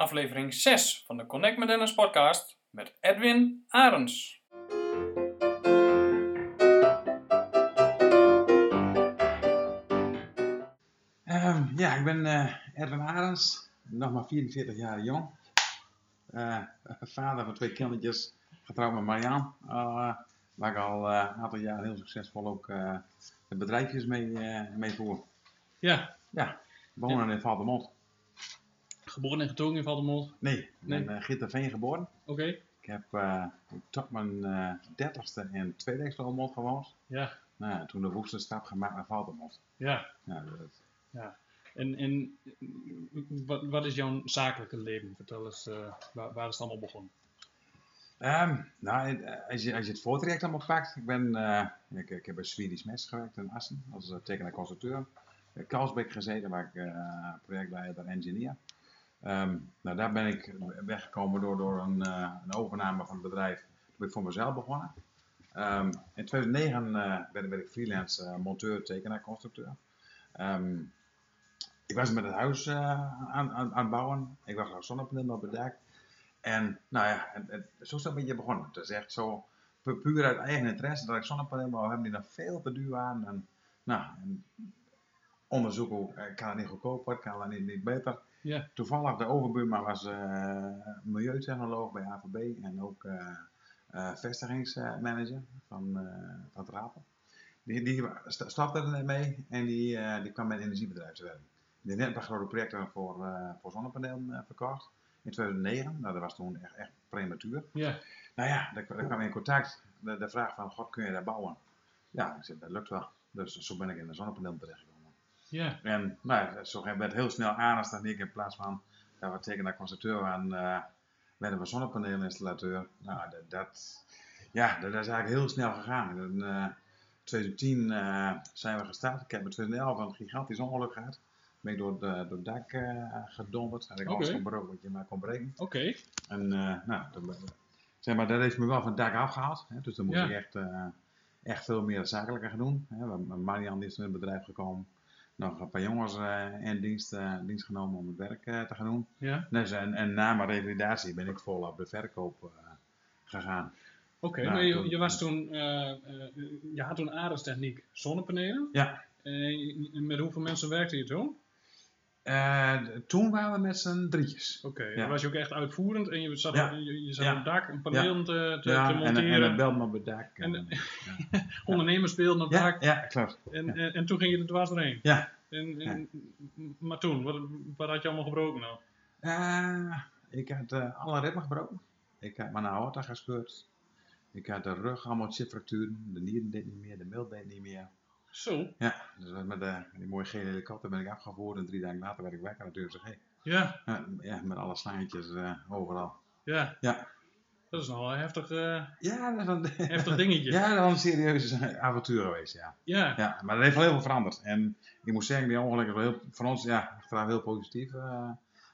aflevering 6 van de Connect met Dennis podcast met Edwin Arends. Ehm, ja, ik ben eh, Edwin Arends, nog maar 44 jaar jong. Eh, vader van twee kindertjes, getrouwd met Marjaan, eh, waar ik al eh, een aantal jaar heel succesvol ook eh, de bedrijfjes mee, eh, mee voer. Ja, Ja, wonen in Valdemont. geboren en getogen in Valdemont. Oké. Nee, ik Nee. ben eh Gitterveen geboren. Ik heb eh, tot mijn eh, dertigste in Tweedijksvaldemont gewoond. Ja, Nou, toen de woeste stap gemaakt naar Valdemont. ja. Ja, dat- En, en wat, wat is jouw zakelijke leven? Vertel eens, eh, waar, waar is het allemaal begonnen? Ehm, nou, en, eh, als je, als je het voortraject allemaal pakt. Ik, ben, eh, ik, ik heb bij Swedish Match gewerkt in Assen als eh, tekenaar constructeur. In Kalsbeek gezeten, waar ik eh, projectleider engineer. Ehm, nou, daar ben ik weggekomen door, door een, eh, een overname van het bedrijf. Toen ben ik voor mezelf begonnen. Ehm, in 2009 eh, ben, ben ik freelance eh, monteur, tekenaar, constructeur. Ehm, ik was met het huis eh, aan, aan, aan het bouwen. Ik was al zonnepanelen op het dak. En nou ja, en, en zo is dat een beetje begonnen. Het is echt zo pu- puur uit eigen interesse dat ik zonnepanelen wou hebben die nog veel te duur waren. En, nou, en onderzoek hoe eh, kan het niet goedkoper, kan het niet, niet beter. Ja. Toevallig de overbuurman was eh, milieutechnoloog bij AVB en ook eh, eh, vestigingsmanager van, eh van het Rapen. Die, die sta- stapte er net mee en die, eh, die kwam bij een energiebedrijf te werken. Die net een paar grote projecten voor, eh voor zonnepanelen eh, verkocht in 2009. Nou, dat was toen echt, echt prematuur. Ja, Nou ja, daar, daar kwam ik in contact. De, de vraag van, god, kun je daar bouwen? Ja, ik zei, dat lukt wel. Dus zo ben ik in de zonnepanelen terechtgekomen. ja, En nou, ja, zo werd heel snel aandacht dat ik in plaats van dat we tekenaar constructeur waren, eh werden we zonnepaneelinstallateur. Nou, dat, dat, ja, dat, dat is eigenlijk heel snel gegaan. In eh, 2010 eh, zijn we gestart. Ik heb in 2011 een gigantisch ongeluk gehad. Ben ik door, de, door het dak eh, gedonderd. Had ik Oké. alles gebroken wat je maar kon breken. oké. En eh, nou, dat, zeg maar, dat heeft me wel van het dak afgehaald. Hè, dus dan moet Ja. ik echt, eh, echt veel meer zakelijker gaan doen. Hè. want Marian is in het bedrijf gekomen. Nog een paar jongens eh, in dienst, eh, dienst genomen om het werk eh, te gaan doen. Ja, Dus, en, en na mijn revalidatie ben ik volop de verkoop eh, gegaan. oké. Nou, maar je, toen- je was toen, eh, eh, je had toen aardestechniek zonnepanelen. Eh, Ja, En met hoeveel mensen werkte je toen? eh, toen waren we met z'n drietjes. Oké, Ja. dan was je ook echt uitvoerend en je zat, Ja. je, je zat Ja. op het dak een paneel te, te, te en, en monteren. het belt me op het dak. En- en- Ondernemers speelden op het ja, dak. ja, klopt. En, Ja. en, en toen ging je er dwars doorheen. Ja, En, en, Maar toen, wat, wat had je allemaal gebroken nou? Eh, ik had eh, alle ribben gebroken. Ik had mijn aorta gescheurd. Ik had de rug allemaal chipfracturen. De nieren deed niet meer, de milt deed niet meer. Zo. Ja, dus met de, die mooie gele helikopter ben ik afgevoerd en drie dagen later werd ik wakker natuurlijk. Zeg, hey. Ja, ja, ja, met alle slangetjes eh, overal. ja. Ja. Dat is nogal een heftig, eh, Ja, dat was een, heftig dingetje. ja, dat was een serieus eh, avontuur geweest, ja. Ja. ja. Maar dat heeft wel heel veel veranderd. En ik moet zeggen, die ongeluk is wel heel, voor ons ja, achteraf heel positief eh,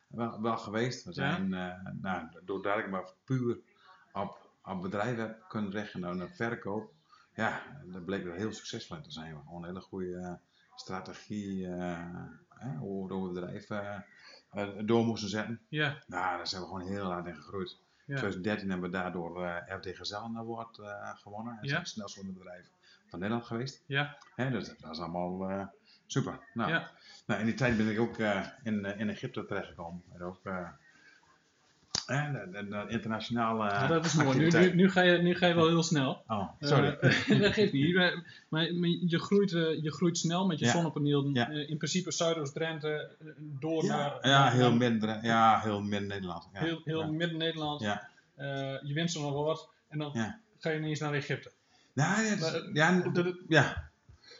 wel, wel geweest. We zijn, eh, nou, doordat ik maar puur op, op bedrijven heb kunnen richten en op verkoop, ja, dat bleek er heel succesvol in te zijn. Gewoon een hele goede eh, strategie, eh, hè, hoe hoe we het bedrijf eh, eh, door moesten zetten. ja. Nou, daar zijn we gewoon heel hard in gegroeid. ja. 2013 hebben we daardoor eh FD Gezel een award eh, gewonnen. En Ja. zijn het snelst van bedrijf van Nederland geweest. Ja. Hè, dus dat was allemaal eh, super. Nou, Ja. nou, in die tijd ben ik ook eh, in, eh, in Egypte terechtgekomen. En ook eh, en, en, en internationaal. eh, Ja, dat is mooi. Nu, nu, activiteit. nu, ga je, nu ga je wel heel snel. Oh, Eh, sorry. dat geeft niet. Maar, maar- maar je, groeit, eh, je groeit snel met je Ja. zonnepaneel. Ja. Eh, in principe Zuidoost-Drenthe eh, door ja, naar... ja, naar- heel midden, ja, heel midden Nederland. Ja. heel, heel ja. midden-Nederland. Ja. Eh, je wint zo'n award en dan Ja. ga je ineens naar Egypte. Nou, ja, het, Maar- ja, dat- dat- ja.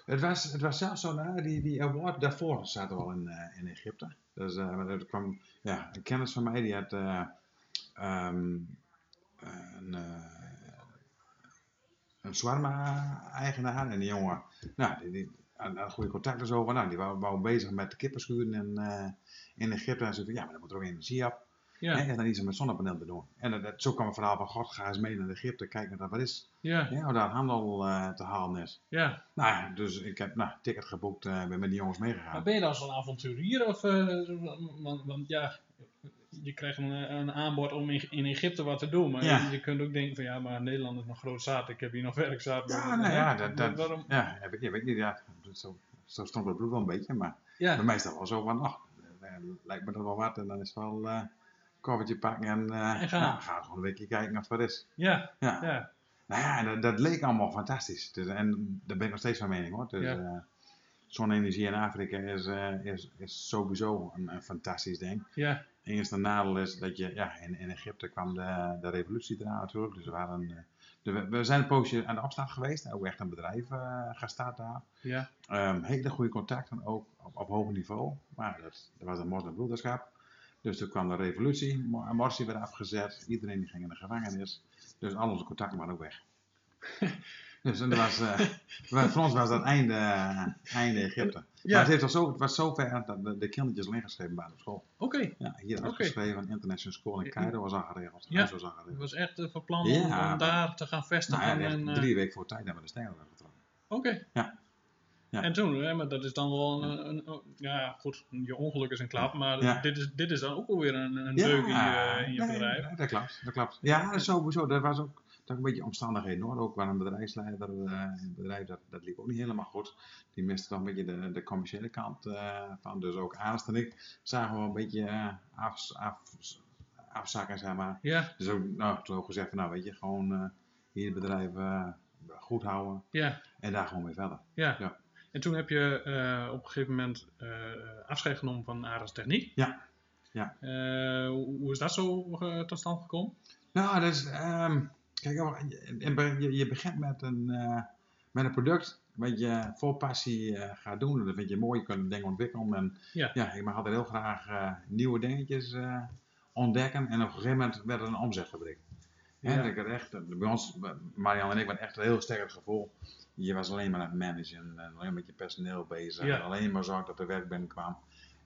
Het, was, het was zelfs zo, nou, die, die award daarvoor zaten we al in, eh, in Egypte. Dus eh, maar er kwam ja, een kennis van mij, die had eh, ehm, een, eh een shawarma-eigenaar en die jongen, nou, die, die had- had goede contacten over, nou, die wou, wou bezig met kippenschuren in, eh, in Egypte. En ze van, ja, maar dan moet er ook energie op. Ja. En dan iets met zonnepanelen te doen. En dat- dat, zo kwam het verhaal van, god, ga eens mee naar Egypte, kijk wat dat wat is. Ja. Ja, daar handel eh, te halen is. ja. Nou ja, dus ik heb nou, ticket geboekt, eh ben met die jongens meegegaan. Maar ben je dan zo'n avonturier? Of, eh, want, want ja, je krijgt een, eh, een aanbod om in, in Egypte wat te doen. Maar Ja. je kunt ook denken van ja, maar Nederland is nog groot zaad. Ik heb hier nog werkzaad. Ja, nou ja, dat, dat, Waarom? ja, heb ik, heb ik niet. Ja, Dus zo, zo stond het bloed wel een beetje, maar Ja, bij mij is dat wel zo van, ach, eh, eh, lijkt me dat wel wat. En dan is het wel eh koffertje pakken en, eh En gaan. nou, ga gewoon een weekje kijken of het wat is. ja, Ja. ja. Nou ja, dat, dat leek allemaal fantastisch. Dus, en daar ben ik nog steeds van mening hoor. Dus, Ja. eh, Zonne-energie in Afrika is, eh, is, is sowieso een, een fantastisch ding. ja. Het enige nadeel is dat je, ja, in, in Egypte kwam de, de revolutie eraan natuurlijk. Dus we, waren, eh, de- we- we zijn een poosje aan de afslag geweest. Ook echt een bedrijf eh, gestart daar. ja. Ehm, hele goede contacten ook op, op hoog niveau. Maar dat, dat was een moslimbroederschap. Dus toen kwam de revolutie. Mo- Morsi werd afgezet. Iedereen die ging in de gevangenis. Dus al onze contacten waren ook weg. dus en dat was, eh, wa- voor ons was dat einde, eh, einde Egypte. Maar het, heeft al zo, het was zo ver dat de, de kindertjes al ingeschreven waren op school. Oké. Ja, hier had Oké. geschreven, International School in Cairo was aangeregeld. Ja. Huis was Het aangeregeld. was echt eh, van plan om, Ja, om maar- daar te gaan Nou, vestigen. ja, echt en, eh, drie weken voor tijd hebben we de stijl getrokken. Oké. Ja. Ja. En toen, hè, maar dat is dan wel een, een- een- ja goed, je ongeluk is een klap, maar Ja. dit, is, dit is dan ook alweer een, een deuk in je, in je Ah, nee, bedrijf. nee, dat klopt, dat klopt. Ja, sowieso. Dat was ook, dat ook een beetje omstandigheden hoor. Ook waar een bedrijfsleider, eh, een bedrijf, dat, dat liep ook niet helemaal goed. Die miste toch een beetje de, de commerciële kant eh, van. Dus ook Aanst en ik zagen we een beetje eh, af, af, afzakken, zeg maar. Ja, Dus ook, nou, toen ook gezegd van, nou weet je, gewoon eh, hier het bedrijf eh, goed houden ja, en daar gewoon mee verder. ja. Ja. En toen heb je eh, op een gegeven moment eh, afscheid genomen van Ares Techniek. Ja. Ja. Eh, hoe hoe is dat zo eh, tot stand gekomen? Nou, dat is. ehm, kijk, oh, je- je- je, je begint met een, eh, met een product wat je vol passie eh, gaat doen. Dat vind je mooi, je kunt dingen ontwikkelen. En, Ja. ik mag altijd heel graag eh, nieuwe dingetjes eh, ontdekken. En op een gegeven moment werd het een omzetfabriek. Hè, Ja. dat ik had echt, eh, bij ons, bij Marianne en ik, waren echt een heel sterk gevoel. Je was alleen maar aan het managen, en alleen met je personeel bezig, Ja. en alleen maar zorg dat er werk binnenkwam.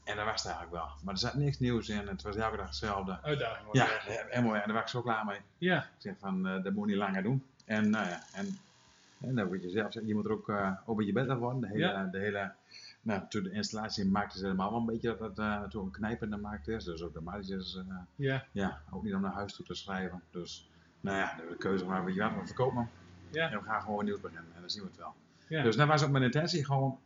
En dat was het eigenlijk wel. Maar er zat niks nieuws in, het was elke dag hetzelfde. Uitdaging. was Ja, het. helemaal, en daar was ik zo klaar mee. ja, Ik zeg van, eh, dat moet je niet langer doen. En, nou ja, en, en dan moet je zelf zeggen, je moet er ook eh op je bed worden. De hele, Ja. de hele, nou, toen de installatie in de markt is helemaal wel een beetje dat het eh, toen een knijpende markt is. Dus ook de marges, eh, ja, ja, ook niet om naar huis toe te schrijven. Dus, nou ja, de keuze maar, weet je wat, we verkopen hem. ja, En we gaan gewoon nieuws beginnen en dan zien we het wel. ja. Dus dat was ook mijn intentie, gewoon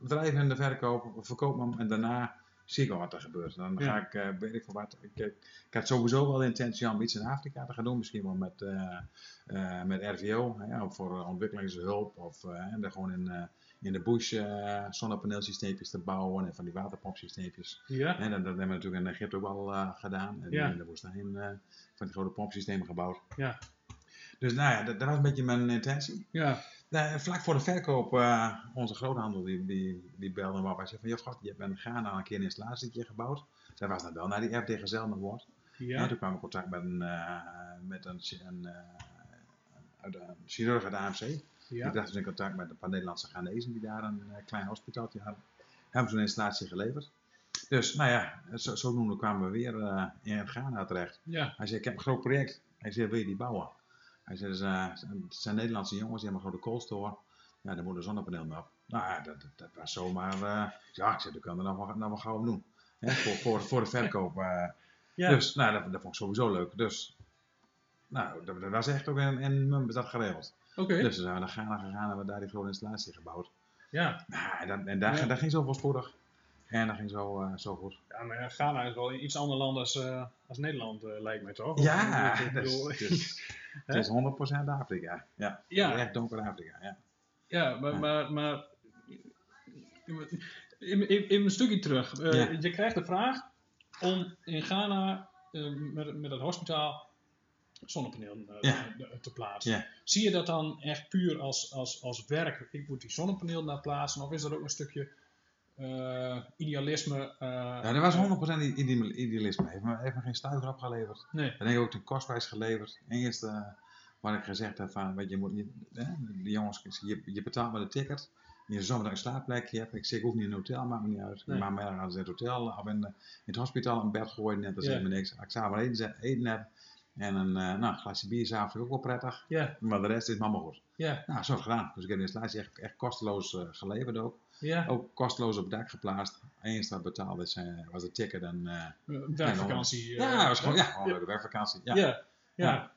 bedrijf in de verkoop, we verkopen hem en daarna zie ik wel wat er gebeurt. Dan Ja. ga ik, eh, weet ik veel wat, ik, ik, ik had sowieso wel de intentie om iets in Afrika te gaan doen, misschien wel met, eh, eh, met RVO, hè, of voor eh, ontwikkelingshulp, of eh, en dan gewoon in, eh, in de bush eh zonnepaneelsysteempjes te bouwen en van die waterpompsysteempjes. ja. Hè, dat, dat hebben we natuurlijk in Egypte ook al eh, gedaan, en Ja. in de woestijn eh, van die grote pompsystemen gebouwd. Ja. Dus nou ja, dat, dat was een beetje mijn intentie. ja. Nou, vlak voor de verkoop, eh, onze groothandel die, die, die belde me op. Hij zei van, joh schat, je hebt in Ghana een keer een installatietje gebouwd. Zij was dan wel naar die RT Gezel nog wordt. ja. En toen kwam ik in contact met een, eh, met een, chi- een, eh, uit- een chirurg uit de AMC. ja. Ik dacht dus in contact met een paar Nederlandse Ghanezen die daar een eh, klein hospitaaltje hadden. Hebben ze een installatie geleverd. Dus nou ja, zo, zodoende kwamen we weer eh, in Ghana terecht. ja. Hij zei, ik heb een groot project. Hij zei, wil je die bouwen? Hij zei, "Dus, eh, het zijn Nederlandse jongens, die hebben een grote koolstore. Ja, daar moet een zonnepaneel mee op. Nou ja, dat, dat- dat was zomaar... eh, ja, ik zei, dat kan er nou wel, nou wel gauw om doen. Hè, voor, voor, voor de verkoop. eh. Ja. Dus, nou, dat, dat vond ik sowieso leuk. Dus, nou, dat, dat was echt ook in, in Mumbus dat geregeld. Oké. Dus we zijn we naar Ghana gegaan en we daar die grote installatie gebouwd. Ja. Nou, en, dat, en daar, Ja. daar ging zo voorspoedig. En dat ging zo, eh, zo goed. ja, maar ja, Ghana is wel een iets ander land als, eh, als Nederland, eh, lijkt mij toch? eh, Ja, Dus. Ik dat is, bedoel, het is, het is 100% Afrika. Ja, Ja. echt donker Afrika. Ja. Ja, maar, Ja. maar, maar even, even- even een stukje terug. Eh, Ja. Je krijgt de vraag om in Ghana eh, met, met het hospitaal zonnepaneel eh, Ja. te- te plaatsen. Ja. Zie je dat dan echt puur als, als, als werk? Ik moet die zonnepaneel daar plaatsen. Of is dat ook een stukje eh, idealisme? eh, Ja, dat was 100% i- ide- idealisme. Heeft me, heeft me geen stuiver opgeleverd. Nee. Dat denk ik ook ten kostprijs geleverd. Eerst eh wat ik gezegd heb van, weet je, je moet, niet- hè, die jongens, je, je betaalt maar de ticket. Je zometeen een slaapplekje hebt. Ik zeg, ik hoef niet in een hotel, maakt me niet uit. Nee. Maar mij gaan ze in het hotel of in, eh, in het hospitaal een bed gooien. Net, dat zegt Ja. me niks. Als ik samen eten, eten heb en een eh, nou, glaasje bier is avonds ook wel prettig. Ja, Maar de rest is me allemaal goed. ja, Nou, zo gedaan. Dus ik heb de installatie echt, echt kosteloos eh, geleverd ook. Ja, Ook kosteloos op het dak geplaatst. Eén staat betaald, dus, eh, was de ticket en... eh, een werkvakantie. eh, ja, dat was gewoon, ja, gewoon een leuke werkvakantie. Ja. Ja. ja. Ja.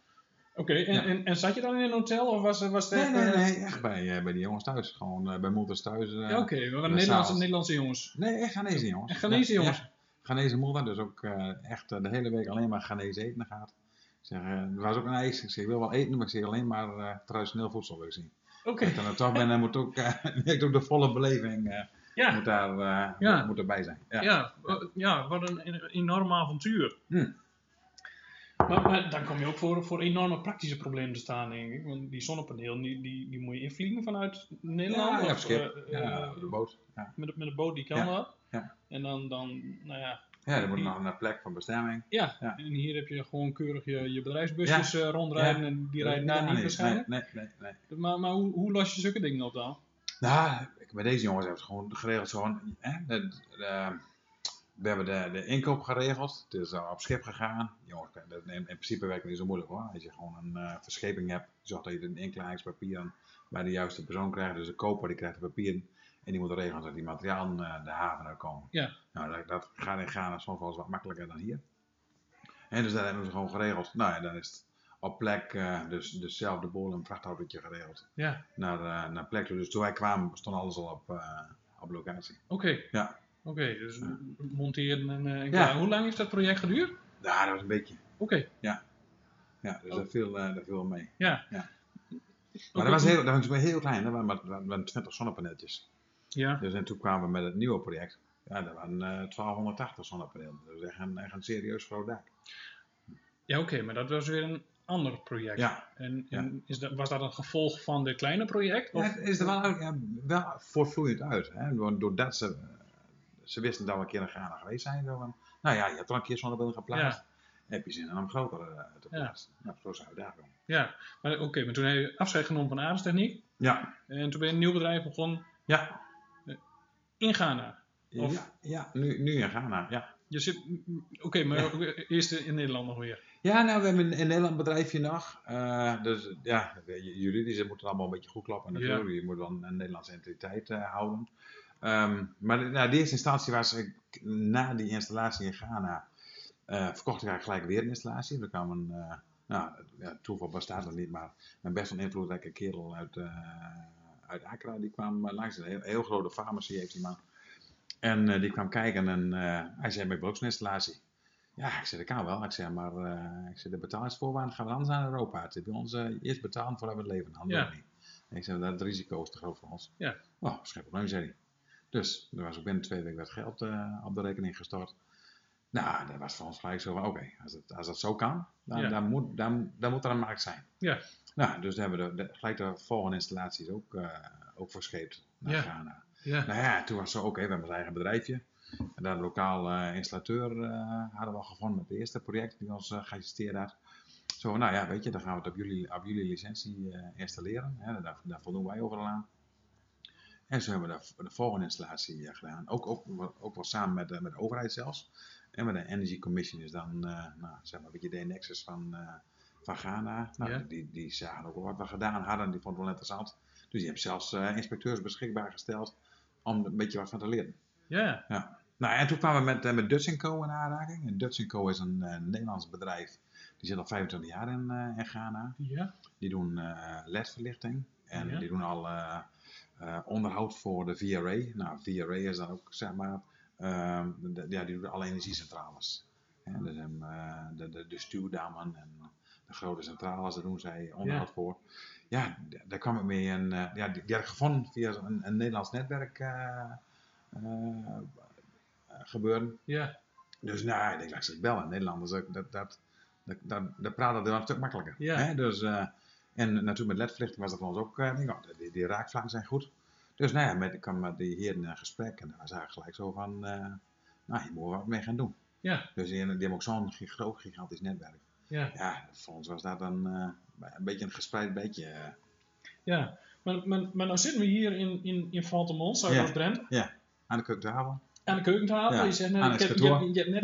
Oké, en, Ja. en, en zat je dan in een hotel of was, was het Nee, echt... nee, eh, nee, echt bij, eh, bij die jongens thuis. Gewoon eh, bij moeders thuis. eh, ja, Oké, we waren de Nederlandse, zaal. Nederlandse jongens. Nee, echt Ghanese jongens. En Ghanese Ja, jongens. ja. Ghanese moeder, dus ook eh, echt eh, de hele week alleen maar Ghanese eten gaat. Ik Zeg, eh, er was ook een eis. Ik zeg, ik wil wel eten, maar ik zeg alleen maar eh, traditioneel voedsel wil ik zien. Oké, Als ik dan er toch ben, dan moet ook, eh, heeft ook de volle beleving eh, ja. moet, daar, eh, Ja. moet erbij zijn. Ja. Ja, wa- ja, wat een en- enorm avontuur. Hm. Maar, maar dan kom je ook voor, voor enorme praktische problemen te staan, denk ik. Want die zonnepaneel, die, die, die moet je invliegen vanuit Nederland. Ja, ja, of, op schip. eh, eh, Ja, op de boot. Ja, met, met een boot, die kan Ja, dat. ja. En dan, dan, nou ja. ja dan moet je naar een plek van bestemming. ja. Ja. En hier heb je gewoon keurig je, je bedrijfsbusjes eh, rondrijden. En die rijden daar Ja, niet nee, waarschijnlijk. Nee, nee, nee. nee. Maar, maar hoe, hoe los je zulke dingen op dan? Nou, ik- bij deze jongens hebben we het gewoon geregeld. Zo'n, hè, de, de- we hebben de, de inkoop geregeld. Het is al op schip gegaan. Jongens, dat in, in principe werkt het niet zo moeilijk hoor. Als je gewoon een eh, verscheping hebt, zorg dat je een inklaringspapier bij de juiste persoon krijgt. Dus de koper die krijgt de papieren. En die moet regelen dat die materialen eh, de haven uitkomen. Ja. Nou, dat, dat gaat in Ghana soms wel eens wat makkelijker dan hier. En dus dat hebben ze gewoon geregeld. Nou, en dan is het op plek eh, dus dezelfde bol en vrachtautootje geregeld Ja, naar, eh, naar plek toe. Dus toen wij kwamen stond alles al op, eh, op locatie. oké. Ja. Oké, dus monteren en... eh, en Ja. klaar. Hoe lang heeft dat project geduurd? Oké. Ja, dat was een beetje. Ja, dus dat, viel, eh, dat viel mee. Ja. Ja. Maar Oh. Oké. dat was, heel, dat was maar heel klein, dat waren maar, dat waren 20 zonnepaneeltjes. Ja, Dus en toen kwamen we met het nieuwe project. Ja, dat waren eh 1280 zonnepanelen. Dat is echt een, echt een serieus groot dak. ja oké, maar dat was weer een ander project. Ja. En, en Is dat, was dat een gevolg van dit kleine project? Ja, Of? het is er wel, uit- ja, wel voortvloeiend uit. Hè? Door- Doordat ze, ze wisten dat we een keer in Ghana geweest zijn. zo van, nou ja, je hebt er een keer zonnepanelen geplaatst. Heb je zin in om groter eh, te Ja. plaatsen? Nou, zo zou je daar komen. Ja, maar oké, maar toen heb je afscheid genomen van aardestechniek. Ja, En toen ben je een nieuw bedrijf begonnen ja, in Ghana. Of- Ja, ja nu, nu in Ghana, ja. Je zit, m- m- oké, maar eerst in Nederland nog weer. Ja, nou, we hebben een, een Nederland bedrijfje nog. Eh, dus ja, je- juridisch het moet het allemaal een beetje goed klappen. Natuurlijk, je moet dan een Nederlandse entiteit eh, houden. Ehm, maar nou, de eerste instantie was, ik, na die installatie in Ghana, eh, verkocht ik eigenlijk gelijk weer een installatie. Er kwam een, eh, nou, ja, toeval bestaat er niet, maar een best wel invloedrijke kerel uit, eh, uit Accra, die kwam eh, langs. Een heel, heel grote farmacie heeft die man. En eh, die kwam kijken en eh, hij zei, ik wil ook zo'n installatie. Ja, ik zei, dat kan wel. Ik zei, maar eh, ik zei, de betalingsvoorwaarden gaan we anders aan Europa. Het is bij ons eh, eerst betalen voordat we het leven aan Ja. niet. En ik zei, dat het risico is te groot voor ons. Ja. Nou, oh, schep probleem, zei hij. Dus er was ook binnen twee weken werd geld eh, op de rekening gestort. Nou, dat was voor ons gelijk zo van, oké, als, het- als dat zo kan, dan, Ja. dan, moet, dan, dan moet er een markt zijn. Ja. Nou, dus daar hebben we de, de- gelijk de volgende installaties ook, eh ook verscheept naar Ja. Ghana. Ja, Nou ja, toen was het zo, oké, we hebben ons eigen bedrijfje. En daar een lokaal eh, installateur eh, hadden we al gevonden met het eerste project die ons eh, geassisteerd had. Zo, van, nou ja, weet je, dan gaan we het op jullie, op jullie licentie eh, installeren. Hè, daar, daar voldoen wij overal aan. En zo hebben we de, de volgende installatie eh, gedaan. Ook, ook, ook wel samen met, eh, met de overheid zelfs. En met de Energy Commission is dan, eh, nou, zeg maar, een beetje de nexus van, eh, van Ghana. Nou, Ja. die, die zagen ook wel wat we gedaan hadden. Die vonden het wel interessant. Dus die hebben zelfs eh, inspecteurs beschikbaar gesteld om er een beetje wat van te leren. ja, Nou, en toen kwamen we met, eh, met Dutch Co. in aanraking. En Dutch Co. is een eh, Nederlands bedrijf. Die zit al 25 jaar in, eh, in Ghana. ja, Die doen eh ledverlichting. En Ja. die doen al eh, eh, onderhoud voor de VRA. Nou, VRA is dan ook, zeg maar, ehm, de- ja, die doen alle energiecentrales. Hè, dus, ehm, eh, de, de, de stuwdammen en de grote centrales, daar doen zij onderhoud voor. Ja, d- daar kwam ik mee. En, eh, ja, die, die had ik gevonden via een, een Nederlands netwerk eh, eh, gebeuren. ja, Dus nou, ik denk, laat ze het bellen. Nederlanders, dat, dat, dat, dat, dat, dat praten dan een stuk makkelijker. Ja. Hè? Dus, eh, en natuurlijk met ledverlichting was dat voor ons ook, eh, ik denk, oh, die, die raakvlakken zijn goed. Dus nou ja, met, ik kwam met die heren in gesprek en daar zagen gelijk zo van, eh, nou, hier moeten we wat mee gaan doen. ja, Dus die, die hebben ook zo'n gi- groot, gigantisch netwerk. ja, Ja, voor ons was dat dan eh, een beetje een gespreid beetje. eh. ja. Maar, maar, maar nou zitten we hier in, in, in Valtemont, Zuidoost-Drenthe. aan de keukentafel. aan de keukentafel. Ja, Je zegt, nou, aan ik het heb, je, kantoor. hebt- je hebt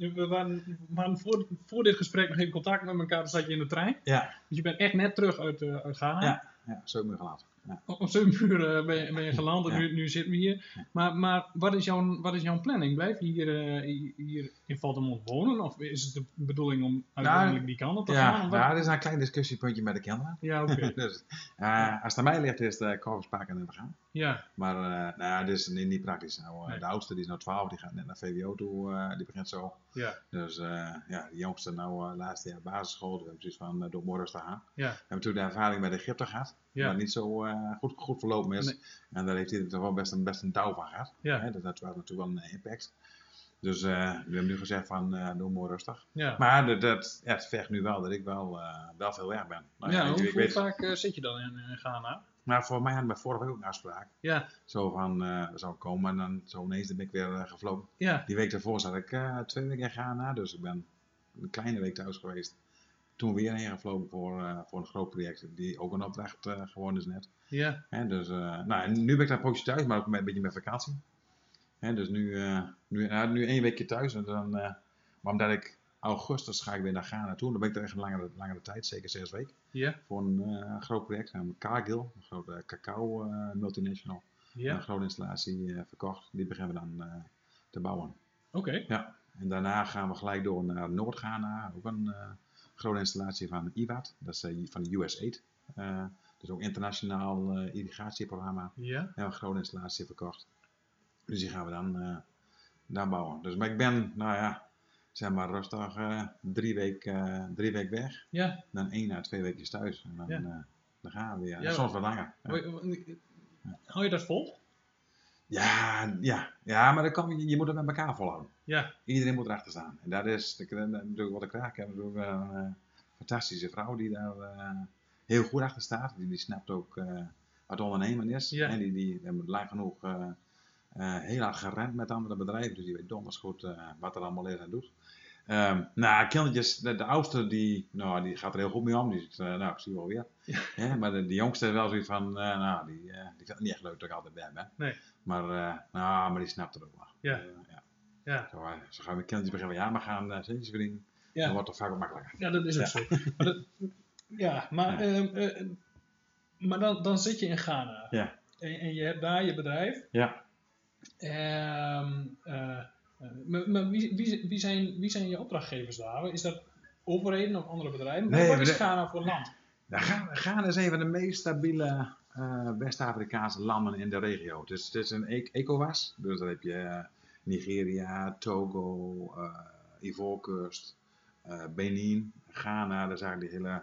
net, eh, we waren, we waren voor, voor dit gesprek nog in contact met elkaar, toen zat je in de trein. Ja, Dus je bent echt net terug uit, eh, uit Ghana. ja, zo moet je gaan laten. Op zo'n muur eh, ben, je- ben je geland en nu, nu zitten we hier. Maar, maar wat, is jouw, wat is jouw planning? Blijf je hier, eh, hier in Valdemont wonen? Of is het de bedoeling om uiteindelijk die kant op te gaan? Nou, Ja, Of wat? nou, dat is een klein discussiepuntje met de kinderen. ja oké. dus, eh, als het aan mij ligt, is de Korfspaak aan de gang. Ja, Maar eh nou, ja, dit is niet, niet praktisch. Nou, eh, Nee. De oudste die is nou 12, die gaat net naar VWO toe, eh, die begint zo. ja, Dus eh, ja, de jongste nou eh laatste jaar basisschool, dus we hebben precies van eh, door Morris te gaan. ja, We hebben toen de ervaring met Egypte gehad, Ja. wat niet zo eh, goed, goed verlopen is. Nee. En daar heeft hij toch wel best een, best een touw van gehad. ja, Hè, dat, dat was natuurlijk wel een impact. Dus eh, we hebben nu gezegd van eh doe maar rustig. ja. Maar dat, dat, ja, het vecht nu wel dat ik wel, eh, wel veel weg ben. Nou ja, ja, weet je, hoe, ik hoe weet- vaak eh, zit je dan in eh, Ghana? maar voor mij hadden we vorige week ook een afspraak. Ja, Zo van, eh zou ik komen en dan zo ineens ben ik weer eh, gevlogen. ja, Die week daarvoor zat ik eh, twee weken in Ghana, dus ik ben een kleine week thuis geweest. Toen weer heen gevlogen voor, eh, voor een groot project, die ook een opdracht eh, geworden is net. ja, Hè, dus, eh, nou, en nu ben ik daar een poosje thuis, maar ook met, een beetje met vakantie. Hè, dus nu, eh, nu, nou, nu één weekje thuis. En dan, eh, maar omdat ik augustus ga ik weer naar Ghana toe, dan ben ik daar echt een langere, langere tijd, zeker zes weken. ja, Voor een eh, groot project, namelijk Cargill, een grote cacao eh, multinational een ja. grote installatie eh, verkocht. Die beginnen we dan eh, te bouwen. Oké, En daarna gaan we gelijk door naar Noord-Ghana. Ook een eh, grote installatie van IWAT. Dat is eh, van de US8. eh dus ook internationaal eh, irrigatieprogramma. ja, En een grote installatie verkocht. Dus die gaan we dan eh, daar bouwen. Dus maar ik ben, nou ja, zeg maar rustig eh, drie weken drie week weg. ja. Dan één à twee weekjes thuis. En dan, Ja. eh, dan gaan we weer. Ja. Soms wat langer. Ja. Hoi, hoi, Hou je dat vol? Ja, ja, ja, maar dat kan, je je moet het met elkaar volhouden. Ja, Iedereen moet erachter staan. En dat is dat- dat- natuurlijk wat ik raak heb. Natuurlijk wel een eh, fantastische vrouw die daar eh, heel goed achter staat. Die, die snapt ook eh, wat ondernemen is. Ja. En die, die hebben lang genoeg eh, eh, heel hard gerend met andere bedrijven. Dus die weet donders goed eh, wat er allemaal is en doet. Ehm, nou, kindertjes, de, de oudste die, nou, die gaat er heel goed mee om. Die zegt, eh, nou, ik zie wel weer. Ja. Hè, maar de, die jongste is wel zoiets van, eh, nou, die, eh, die vindt het niet echt leuk dat ik altijd bij ben. Nee. Maar, eh, nou, maar die snapt het ook wel. Ja. Eh, ja. ja. Zo, eh, zo gaan we kindjes beginnen. Ja, we gaan eh centjes verdienen. Ja. Dan wordt het vaak wat makkelijker. ja dat is ook zo. Maar dat, ja, maar, ehm, eh, maar dan, dan zit je in Ghana. Ja. En, en je hebt daar je bedrijf. Ja. Ehm, eh, eh, maar maar wie, wie, wie, zijn, wie zijn je opdrachtgevers daar? Is dat overheden of andere bedrijven? Nee, Wat we is de- Ghana voor land? Nou, Ga- Ghana is een van de meest stabiele eh, West-Afrikaanse landen in de regio. Het is, het is een e- ECOWAS. Dus dan heb je eh, Nigeria, Togo, eh Ivoorkust, eh, Benin, Ghana. Dat is eigenlijk die hele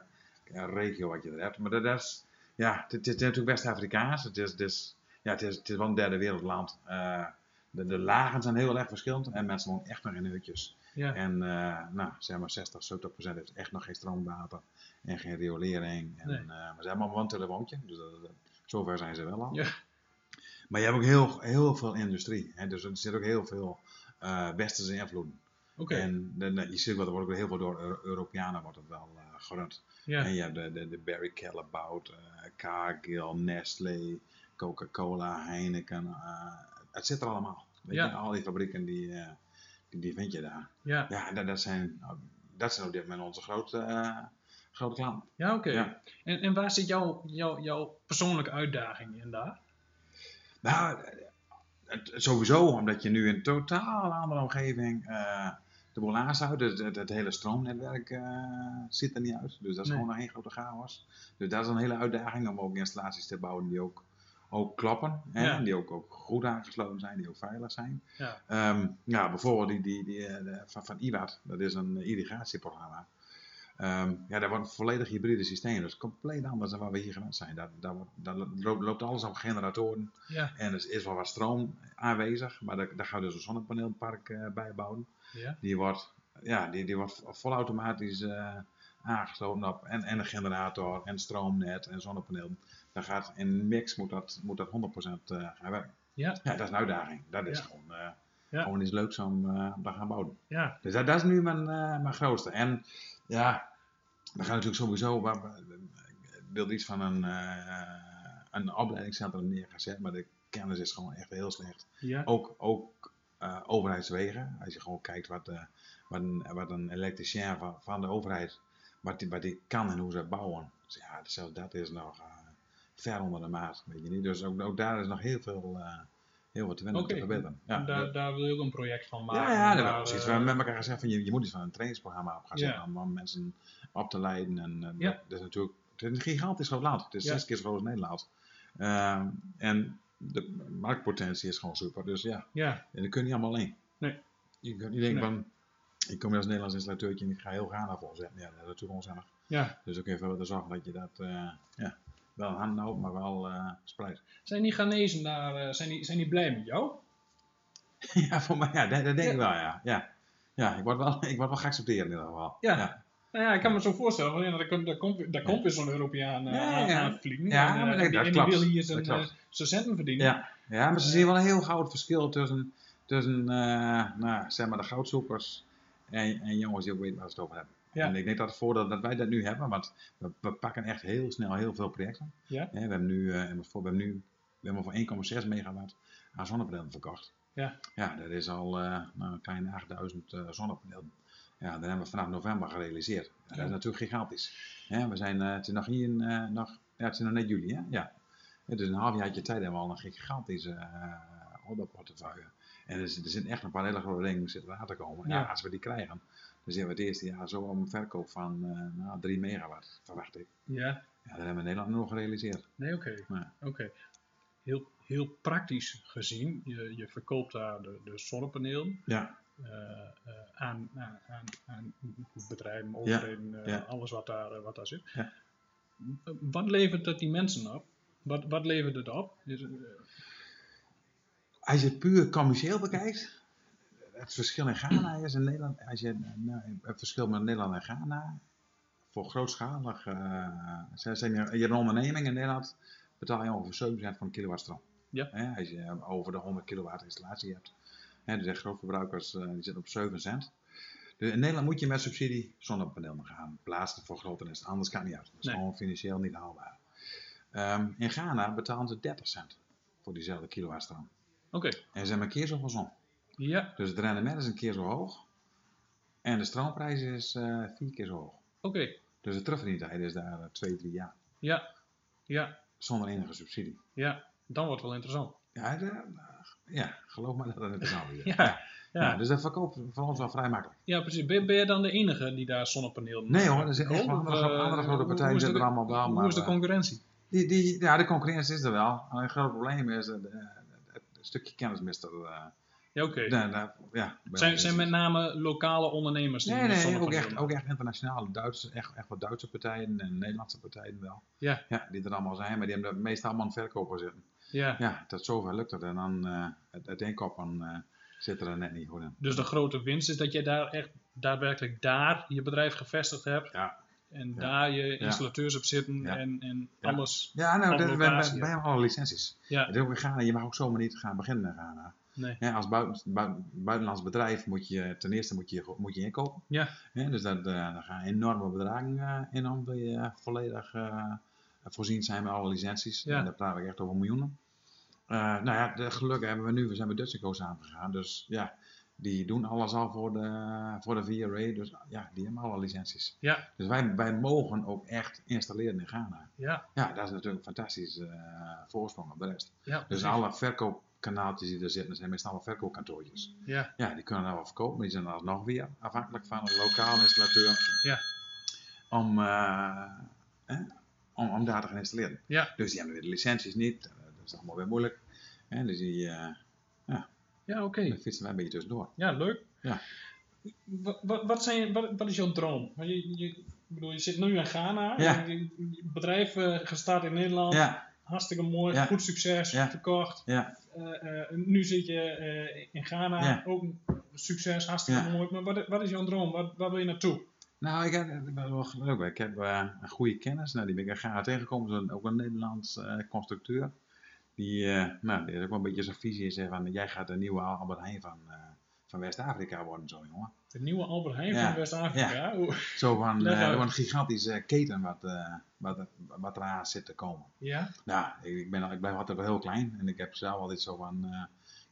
eh, regio wat je er hebt. Maar dat, dat is, ja, het, het is natuurlijk West-Afrikaans. Het is, het, is, ja, het, is, het is wel een derde wereldland. Eh, de, de lagen zijn heel erg verschillend en mensen wonen echt nog in hutjes. Ja, En eh, nou, zeg maar 60, 70 procent heeft echt nog geen stroomwater en geen riolering. En, Nee. eh, maar ze hebben allemaal een telefoontje, dus dat, dat- zover zijn ze wel al. Ja. Maar je hebt ook heel, heel veel industrie, hè, dus er zit ook heel veel eh, westerse invloeden. oké. En de- de- je ziet wel, er wordt ook heel veel door Euro- Europeanen wordt het wel eh gerund. Ja, En je hebt de, de, de Barry Callebaut, eh, Cargill, Nestlé, Coca-Cola, Heineken. eh, het zit er allemaal. Weet Ja. je, al die fabrieken die, eh, die, die vind je daar. ja. Ja, dat, dat, zijn, nou, dat zijn op dit moment onze grote, eh, grote klanten. ja oké. Ja. En, en waar zit jouw jouw jouw persoonlijke uitdaging in daar? Nou, eh, het- sowieso, omdat je nu in een totaal andere omgeving eh, de bolaars uit, dus het, het hele stroomnetwerk eh, ziet er niet uit. Dus dat is Nee. gewoon nog één grote chaos. Dus dat is een hele uitdaging om ook installaties te bouwen die ook, ook klappen, hè, Ja. die ook, ook goed aangesloten zijn, die ook veilig zijn. Ja. Ehm, ja, bijvoorbeeld die, die, die, eh, de- van, van IWAT, dat is een eh, irrigatieprogramma. Ehm, ja, dat wordt een volledig hybride systeem, dus compleet anders dan wat we hier gewend zijn. Daar, daar, wordt- daar loopt, loopt alles op generatoren Ja, en er is wel wat stroom aanwezig, maar daar, daar gaan we dus een zonnepaneelpark eh, bij bouwen. ja, Die wordt, ja, die, die wordt volautomatisch eh, aangesloten op en, en een generator en stroomnet en zonnepaneel. Dan gaat in mix moet dat, moet dat 100% eh, gaan werken. Ja. ja, dat is een uitdaging. Dat is Ja. gewoon, eh, Ja. gewoon iets leuks om eh, om te gaan bouwen. ja, Dus dat, dat is nu mijn, eh, mijn grootste. En ja, we gaan natuurlijk sowieso. waar we- ik wilde iets van een, eh, een opleidingscentrum neer gaan zetten, maar de kennis is gewoon echt heel slecht. ja, Ook, ook eh, overheidswegen. Als je gewoon kijkt wat, eh, wat, een, wat een elektricien van, van de overheid, wat die, wat die kan en hoe ze bouwen. Dus ja, zelfs dat is nog. eh, ver onder de maat. Weet je niet? Dus ook, ook daar is nog heel veel eh, heel wat te winnen Oké. te verbeteren. Ja, En daar, daar wil je ook een project van maken. ja, ja, daar Daar, hebben we precies. We eh, hebben met elkaar gezegd van je, je moet iets van een trainingsprogramma op gaan Ja. zetten om, om mensen op te leiden. En, eh, Ja. dat is natuurlijk het is een gigantisch groot land. Het is Ja. zes keer zo groot als Nederland. Ehm, en de marktpotentie is gewoon super. Dus ja, ja, en dat kun je niet allemaal alleen. Nee. Je kunt niet denken Nee. van, ik kom hier als Nederlands installateurtje en ik ga heel Ghana volzetten. Ja, dat is natuurlijk onzinnig. ja. Dus ook even willen zorgen dat je dat eh, ja, wel in handen houdt, maar wel eh spreidt. Zijn die Ghanese daar, eh, zijn, die, zijn die blij met jou? ja, voor mij, ja, dat, dat denk Ja. ik wel, ja. ja. Ja, ik word wel, ik word wel geaccepteerd in ieder geval. Ja. ja. Nou ja, ik kan me zo voorstellen, want ja, daar komt, daar komt, daar komt weer zo'n Europeaan eh, Ja, aan, ja. aan vliegen. Ja, en, eh, maar dat- en die, dat en die klopt. wil hier Dat zijn, eh, klopt. zijn centen verdienen. Ja, ja maar ze zien wel een heel groot verschil tussen, tussen eh, nou, zeg maar de goudzoekers en, en jongens die ook weten waar ze het over hebben. Ja. En ik denk dat het voordeel dat wij dat nu hebben, want we, we pakken echt heel snel heel veel projecten. Ja. Hè, we hebben nu, eh, en voor, we hebben nu we hebben voor 1,6 megawatt aan zonnepanelen verkocht. Ja. ja, dat is al eh, nou, een kleine 8000 eh, zonnepanelen. Ja, dat hebben we vanaf november gerealiseerd. Ja, Ja. Dat is natuurlijk gigantisch. Hè, we zijn, eh, het is nog hier, in, eh, nog, ja, het is nog net juli, hè? Ja. Ja, dus een half jaartje tijd hebben we al een gigantische eh orderportefeuille. En er, zit- er zitten echt een paar hele grote dingen zitten aan te komen. Ja. Ja. als we die krijgen, dan zijn we het eerste jaar zo om een verkoop van eh nou, 3 megawatt, verwacht ik. Ja, Ja, dat hebben we in Nederland nog gerealiseerd. nee, oké. oké Ja. Heel, heel praktisch gezien, je, je verkoopt daar de, de zonnepaneel Ja, eh, eh, aan, aan, aan, aan bedrijven, Ja, overheden, eh, ja. alles wat daar, eh, wat daar zit. Ja. Wat levert dat die mensen op? Wat, wat levert het op? Is, het, eh, als je het puur commercieel bekijkt, het verschil in Ghana is in Nederland, als je eh, nou, het verschil met Nederland en Ghana, voor grootschalig, eh, zeg- zeg je, je onderneming in Nederland betaal je ongeveer 7 cent voor een kilowatt stroom. Ja. Hè, als je eh, over de 100 kilowatt installatie hebt. Hè, dus echt grootverbruikers eh, die zitten op 7 cent. Dus in Nederland moet je met subsidie zonnepanelen gaan plaatsen voor grote nesten. Anders kan het niet uit. Dat is Nee. gewoon financieel niet haalbaar. Ehm, in Ghana betalen ze 30 cent voor diezelfde kilowattstroom. Oké, En ze hebben een keer zoveel zon. ja, Dus het rendement is een keer zo hoog. En de stroomprijs is eh, vier keer zo hoog. oké, Dus de terugverdientijd is daar eh, twee, drie jaar. ja, ja, Zonder enige subsidie. ja. Dan wordt het wel interessant. Ja, de- ja geloof me dat dat interessant is. Ja, Ja. Ja, dus dat verkoopt voor ons wel vrij makkelijk. ja precies. Ben, ben je dan de enige die daar zonnepaneel Nee hoor, er zijn echt Oh, wel andere, gro- eh, andere grote hoe- partijen hoe is zitten er de- allemaal bij. Hoe Maar, is de eh, concurrentie? die, die, ja, de concurrentie is er wel. Alleen het groot probleem is eh, het stukje kennis mist er. eh, Ja, oké. daar- daar- ja, bij Zijn, ons zijn is- met name lokale ondernemers die Nee, nee, ook zonnepanelen echt, ook echt internationale Duitse, echt, echt wat Duitse partijen en Nederlandse partijen wel. Ja. ja. Die er allemaal zijn, maar die hebben de meeste allemaal een verkoper zitten. Ja. Ja, dat zover lukt het. En dan eh het uiteenkoppen eh, zit er dan net niet goed in. Dus de grote winst is dat je daar echt daadwerkelijk daar je bedrijf gevestigd hebt. Ja. En Ja. daar je installateurs op zitten Ja. en, en Ja. alles. Ja, nou, Op dat, we, we, locatie, we hebben alle licenties. Ja. Het is ook in Ghana, je mag ook zomaar niet gaan beginnen in Ghana. Nee. Ja, als buiten, buiten- buitenlands bedrijf moet je ten eerste moet je, moet je inkopen. Ja. Ja, dus dat, eh, daar gaan enorme bedragen eh, in om. Wil je volledig eh, voorzien zijn met alle licenties. Ja. En daar praten we echt over miljoenen. Eh, nou ja, de, gelukkig hebben we nu, we zijn met Dutchico samengegaan. Dus ja, die doen alles al voor de, voor de VRA. Dus ja, die hebben alle licenties. Ja. Dus wij, wij mogen ook echt installeren in Ghana. Ja, Ja, dat is natuurlijk een fantastisch eh, voorsprong op de rest. ja, Dus precies. alle verkoopkanaaltjes die er zitten, zijn meestal allemaal verkoopkantoortjes. ja, Ja, die kunnen dan wel verkopen, maar die zijn dan nog weer afhankelijk van een lokaal installateur. Ja. Om, eh, hè, om, om daar te gaan installeren. Ja. Dus die hebben weer de licenties niet, eh, dat is allemaal weer moeilijk. En dus die eh, ja oké. daar fietsen wij een beetje tussendoor. Ja, leuk. Ja. Wat, wat, wat, zijn, wat, wat is jouw droom? Want Je, je, ik bedoel, je zit nu in Ghana, Ja. je, je bedrijf eh, gestart in Nederland, Ja, hartstikke mooi, Ja. goed succes, Ja. verkocht. ja. Eh, eh, nu zit je eh, in Ghana, Ja. ook een succes, hartstikke Ja. mooi. Maar wat, wat is jouw droom? Waar, waar wil je naartoe? Nou, ik heb, ik ben wel gelukkig. Ik heb eh, een goede kennis. Nou, die ben ik in Ghana tegengekomen. Zo'n- Ook een Nederlands eh, constructeur. Die, eh, nou, die heeft ook wel een beetje zo'n visie. Zegt van, jij gaat de nieuwe Albert Heijn van, eh, van West-Afrika worden, zo jongen. De nieuwe Albert Heijn Ja. van West-Afrika. Oeh. Zo van, Leg eh, uit. er wordt een gigantische keten wat, eh wat, wat eraan zit te komen. Ja, Nou, ik, ik, ben, al- ik blijf altijd wel heel klein. En ik heb zelf altijd zo van, eh,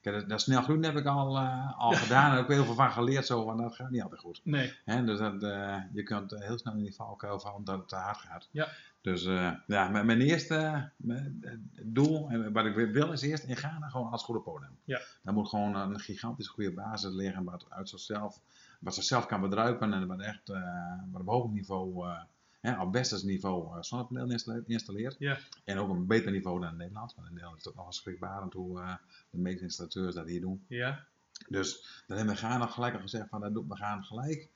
Kijk, dat, dat snel groen heb ik al, eh, al gedaan. Daar heb ik heel veel van geleerd, zo, want dat gaat niet altijd goed. Nee, Hè, dus dat, eh, je kunt heel snel in die valkuil vallen dat het te hard gaat. Ja. Dus eh, ja, mijn, mijn eerste eh, mijn, eh, doel, en wat ik wil, is eerst in Ghana gewoon als goede podium. Ja. Daar moet gewoon een gigantisch goede basis liggen wat, uit zichzelf, wat zichzelf kan bedruipen en wat echt eh, wat op hoog niveau, eh, hè, op westers niveau eh zonnepanelen installe- installeert. Ja. En ook een beter niveau dan in Nederland, want in Nederland is dat nog schrikbarend hoe eh, de meeste installateurs dat hier doen. ja. Dus dan hebben we Ghana gelijk al gezegd van dat doen we gaan gelijk.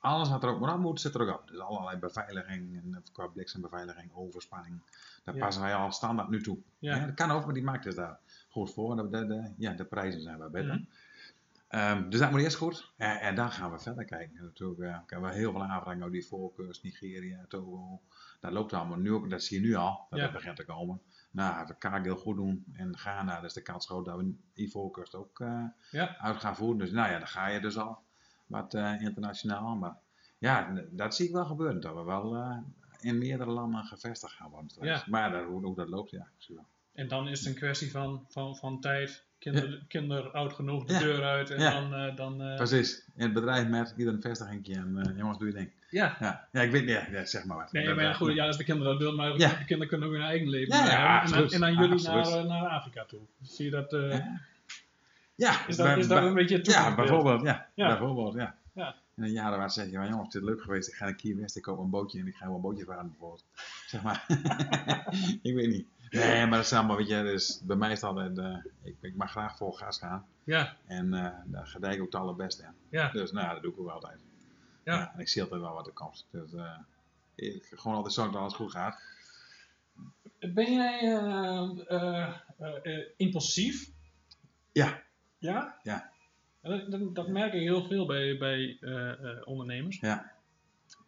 Alles wat er ook maar aan moet, zit er ook op. Dus allerlei beveiliging, en eh, qua bliksembeveiliging, overspanning. Daar Ja. passen wij al standaard nu toe. Ja. Hè, dat kan ook, maar die markt is daar goed voor. De, de, de- ja, de prijzen zijn wel beter. Mhm. Ehm, dus dat moet eerst goed. En, en dan gaan we verder kijken. En Natuurlijk eh, hebben we heel veel aanvragen over die voorkeurs, Nigeria, Togo. Dat loopt allemaal. Nu ook, dat zie je nu al, dat Ja. het begint te komen. Nou, als we Kaag heel goed doen en Ghana, dus de kans groot dat we die voorkeurs ook eh, Ja. uit gaan voeren. Dus nou ja, dan ga je dus al wat eh, internationaal. Maar ja, n- dat zie ik wel gebeuren. Dat we wel eh, in meerdere landen gevestigd gaan worden straks. Ja. Maar dat, hoe, hoe dat loopt, ja. ik zie wel. En dan is het een kwestie van, van, van tijd. Kinder, kinder oud genoeg de Ja. deur uit en Ja. dan... eh, dan eh, Precies. In het bedrijf met ieder een vestigingje en eh, jongens, doe je ding. ja. Ja, ja ik weet niet. Ja, ja, zeg maar wat. Nee, Dat- eh, maar ja, dat- goed, ja, als de kinderen dat willen, maar Ja. de kinderen kunnen ook hun eigen Ja, leven ja, leiden. En dan- absoluut. en dan jullie naar, Absoluut. eh, naar Afrika toe. Zie je dat... eh, Ja. Ja, Is dat, bij- is dat bij- een beetje het Ja, toekomstbeeld? bijvoorbeeld. Ja, Ja. bijvoorbeeld, ja. Ja. In een jaar waar zeg je, maar jongens, dit is leuk geweest. Ik ga naar Key West, ik koop een bootje en ik ga wel een bootje varen bijvoorbeeld. Zeg maar. ik weet niet. Nee, maar dat is allemaal, weet je, dus bij mij is het altijd, eh, ik, ik mag graag vol gas gaan. Ja, En eh daar gedij ik ook het allerbeste in. ja, Dus nou, ja, dat doe ik ook altijd. Ja. en ik zie altijd wel wat er komt. Dus, eh, ik, gewoon altijd zorgen dat alles goed gaat. Ben jij eh, eh, eh, eh, impulsief? Ja. Ja? Ja. En Dat, dat, dat merk ik heel veel bij, bij eh, eh, ondernemers. Ja.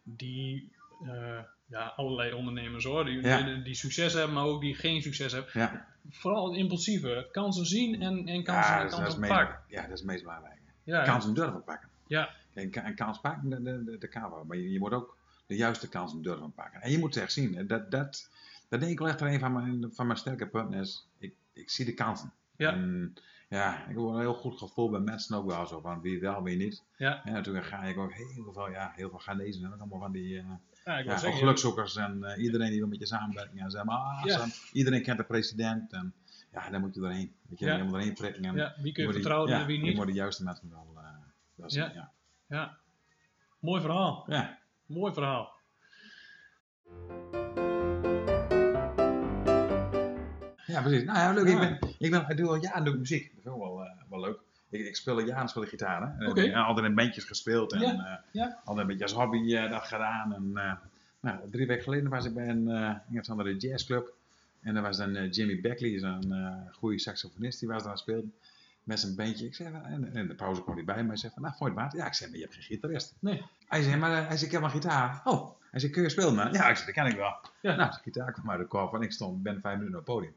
Die, eh, ja, allerlei ondernemers hoor, die, Ja. die, die succes hebben, maar ook die geen succes hebben. Ja, Vooral het impulsieve, kansen zien en, en kansen, ja, dat, is- dat is kansen meest, pakken. ja, dat is het meest belangrijk. Ja, Kansen durven pakken. ja, En een kans pakken, de, de, de, de kamer. Maar je, je moet ook de juiste kansen durven pakken. En je moet het echt zien. Dat, dat, dat denk ik wel echt een van mijn, van mijn sterke punten is. Ik, ik zie de kansen. Ja. En, ja, ik heb wel een heel goed gevoel bij mensen ook wel zo. Van wie wel, wie niet. Ja. En natuurlijk ga ik ook heel veel, ja, heel veel Ghanezen. En ook allemaal van die eh ja, ik wil ja, ook zeggen. gelukzoekers. En eh, iedereen die wil met je samenwerken. En zeg maar, ah, Ja. zo, iedereen kent de president. En ja, daar moet je doorheen. Weet je, Ja. je moet doorheen prikken. En ja, wie kun je moet die- vertrouwen ja, en wie Je niet? moet de juiste mensen wel, eh wel zien, Ja. Ja. Mooi verhaal. ja. ja. Mooi verhaal. Ja, precies. Nou ja, leuk. Ja. Ik, ben, ik, ben, ik doe al jaren doe ik muziek. Dat vind ik wel, eh, wel leuk. Ik, ik speel al jaren speel ik gitaar. Hè? En Oké. ik heb eh, altijd in bandjes gespeeld. En Ja, eh, ja. altijd een beetje als hobby eh, dat gedaan. En, eh, nou, drie weken geleden was ik bij een eh een of andere jazzclub. En daar was dan eh, Jimmy Beckley, zo'n eh goede saxofonist, die was daar aan het spelen. Met zijn bandje. Ik zei, van- en, en de pauze kwam hij bij me en zei van, nou, voor je het water? Ja, ik zei, maar je hebt geen gitarist. Nee. Hij zei, maar eh, hij zei, ik heb een gitaar. Oh, hij zei, kun je spelen, man? Ja, ik zei, dat kan ik wel. Ja. Nou, de gitaar kwam uit de koffer en ik stond, ben vijf minuten op het podium.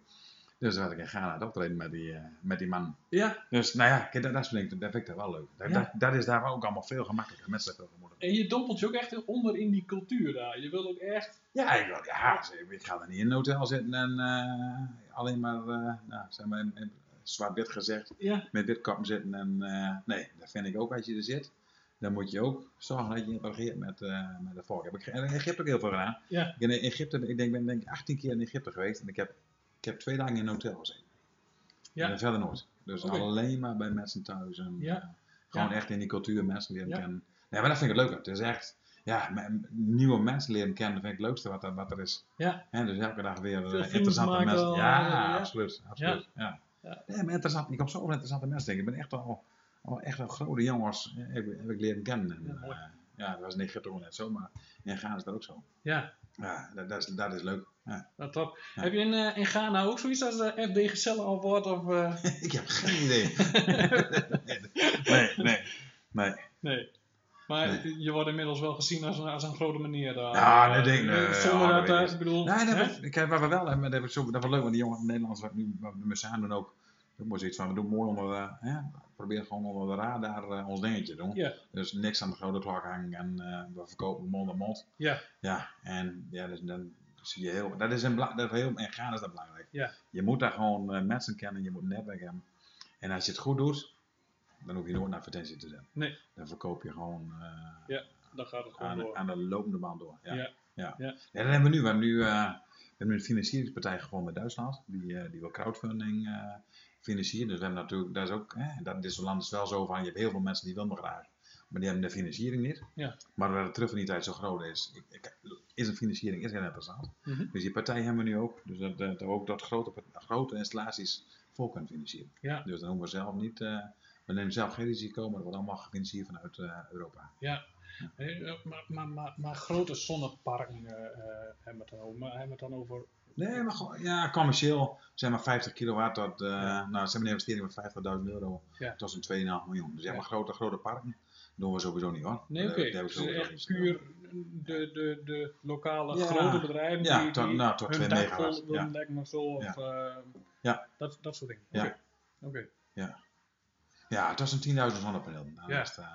Dus dan was ik in Ghana aan het optreden met die, eh, met die man. Ja. Dus nou ja, kijk, dat, dat, vind ik, dat vind ik daar wel leuk. Dat, Ja. dat, dat is daar ook allemaal veel gemakkelijker. Mensen zijn veel gemoedelijker. En je dompelt je ook echt onder in die cultuur daar. Je wilt ook echt. Ja, ik, wil- ja, ze- ik ga er niet in een hotel zitten en eh, alleen maar, eh, nou, zeg maar in- in zwart-wit gezegd, Ja. met wit kap zitten. En, eh, nee, dat vind ik ook als je er zit. Dan moet je ook zorgen dat je interageert met, eh, met de volk. Heb ik in Egypte ook heel veel gedaan. Ja. Ik, ben in Egypte, ik denk, ben denk ik 18 keer in Egypte geweest en ik heb, ik heb twee dagen in een hotel gezeten. Ja. En verder nooit. Dus Oké. alleen maar bij mensen thuis. En, Ja. eh, gewoon Ja. echt in die cultuur mensen leren Ja. kennen. Nee, maar dat vind ik het leuk. Het is echt, ja, m- nieuwe mensen leren kennen vind ik het leukste wat er, wat er is. Ja. Hè, dus elke dag weer eh, vrienden interessante maken mensen. al, ja, eh, ja. absoluut. absoluut ja. Ja. Nee, maar interessant. Ik kom zoveel interessante mensen tegen. Ik ben echt al, al echt al grote jongens eh, heb, heb ik leren kennen. En, Ja, mooi. eh, ja, dat was in Egypte ook net zo, maar in Ghana is dat ook zo. Ja, Ja, dat, dat, is, dat is leuk. Ja. nou top. Ja. Heb je in, eh, in Ghana ook zoiets als eh, de FD Gezellen Award? Of, eh, ik heb geen idee. nee, nee, nee. nee. Maar Nee. je wordt inmiddels wel gezien als een, als een grote meneer daar. Ja, Eh, dat denk ik, eh, nee, Zonder ja, dat, dat weet eh, ik. ik bedoel. Nee, dat hè? was, kijk, wat we wel hebben, dat was, zo- dat was leuk, want die jongen Nederlands, wat nu wat we met Saan doen ook, dat was iets van, we doen mooi onder de, hè, probeer gewoon onder de radar eh, ons dingetje te doen. Ja. Dus niks aan de grote klok hangen en eh, we verkopen mond aan mond. Ja. Ja, en ja, dus, dan zie je heel, dat is een bela- dat is heel, en gaan is dat belangrijk. Ja. Je moet daar gewoon eh, mensen kennen, je moet netwerken. hebben. En als je het goed doet, dan hoef je nooit een advertentie te zetten. Nee. Dan verkoop je gewoon eh, Dan gaat het gewoon aan, door. aan de lopende band door. Ja. Ja. Ja. Ja. Ja, dat hebben we nu. We hebben nu, eh, we hebben nu een financieringspartij gevonden in Duitsland. Die, eh, die wil crowdfunding eh, financieren. Dus we hebben natuurlijk, dat is ook, hè, dat in dit soort landen is wel zo van, je hebt heel veel mensen die willen graag. Maar die hebben de financiering niet. Ja. Maar waar de terugverdientijd zo groot is, ik- ik- is een financiering is heel interessant. Mhm. Dus die partij hebben we nu ook. Dus dat, dat, we ook dat grote, grote installaties vol kunnen financieren. Ja. Dus dan hoeven we zelf niet, eh, we nemen zelf geen risico, maar dat wordt allemaal gefinancierd vanuit eh, Europa. Ja. Hey, eh, Maar, maar, maar, maar grote zonneparken eh, eh, hebben we het dan over. Maar hebben we het dan over Nee, maar gewoon, ja, commercieel, zeg maar 50 kilowatt, dat, eh Ja. nou, zeg maar een investering van 50.000 euro, Ja. dat is een 2,5 miljoen. Dus ja, Ja. maar grote, grote parken, doen we sowieso niet hoor. Nee, Dat- oké. dat hebben we Dus sowieso echt niet. puur de, de, de lokale Ja. grote bedrijven Ja, die, tot- die nou, tot hun twee dak megawatt, vol willen ja. lekker maar zo. Of, eh, Ja. dat, dat soort dingen. Ja. Oké. Oké. Ja, het was een 10.000 zonnepaneel. Nou, Ja. dat is, eh,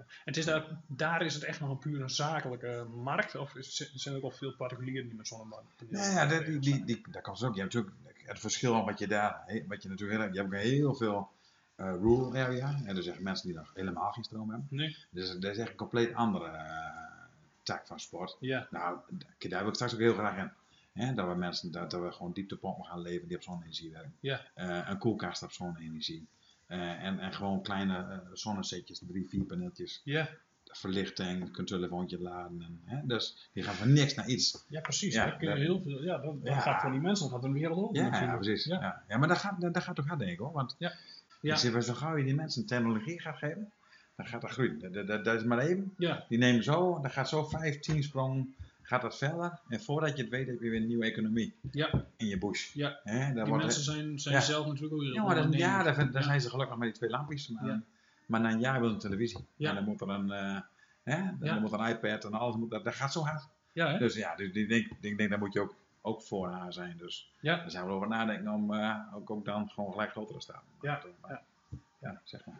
En het is daar, daar is het echt nog een puur een zakelijke markt? Of is, zijn er ook al veel particulieren die met zonnepanelen Ja, ja dat, die, die, die, dat kan ze ook. Je hebt natuurlijk het verschil wat je daar, he- wat je natuurlijk heel, je hebt ook heel veel eh, rural area. En dus echt mensen die nog helemaal geen stroom hebben. Nee? Dus dat is echt een compleet andere eh, tak van sport. Ja. Nou, d- daar wil ik straks ook heel graag in. Hè, dat we mensen, dat, dat we gewoon dieptepompen gaan leveren die op zonne-energie werken. Ja. Eh, een koelkast op zonne-energie. Eh, en, en gewoon kleine eh, zonnesetjes, drie, vier paneeltjes. Ja. Verlichting, je kunt een telefoontje laden. En, hè, dus die gaan van niks naar iets. ja, precies. Ja, daar kun je dat- heel veel, ja, dat, dat Ja. gaat voor die mensen gaat een wereld open. Ja, ja, natuurlijk. precies. Ja. Ja. Ja. maar dat gaat, dat, dat gaat toch hard, denk ik hoor. Want Ja. Ja. Je ziet, wel, zo gauw je die mensen technologie gaat geven, dan gaat dat groeien. Dat- Dat, dat, dat is maar even. Ja. Die nemen zo, dan gaat zo 15 sprong, gaat dat verder. En voordat je het weet, heb je weer een nieuwe economie Ja. in je bush. Ja. Hè, daar Die wordt- mensen zijn, zijn Ja. zelf natuurlijk ook weer ja, maar dat, ondernemers. ja, daar, vind- daar Ja. zijn ze gelukkig met die twee lampjes. Maar, Ja. maar na een jaar wil een televisie. Ja. En dan moet er een, eh, hè, dan Ja. moet er een iPad en alles. Moet, dat, dat gaat zo hard. Ja, hè? Dus ja, dus ik denk, ik denk daar moet je ook, ook voor haar zijn. Dus. Ja. Daar zijn we over nadenken om eh, ook, ook dan gewoon gelijk grotere staten. Ja, ja. zeg maar.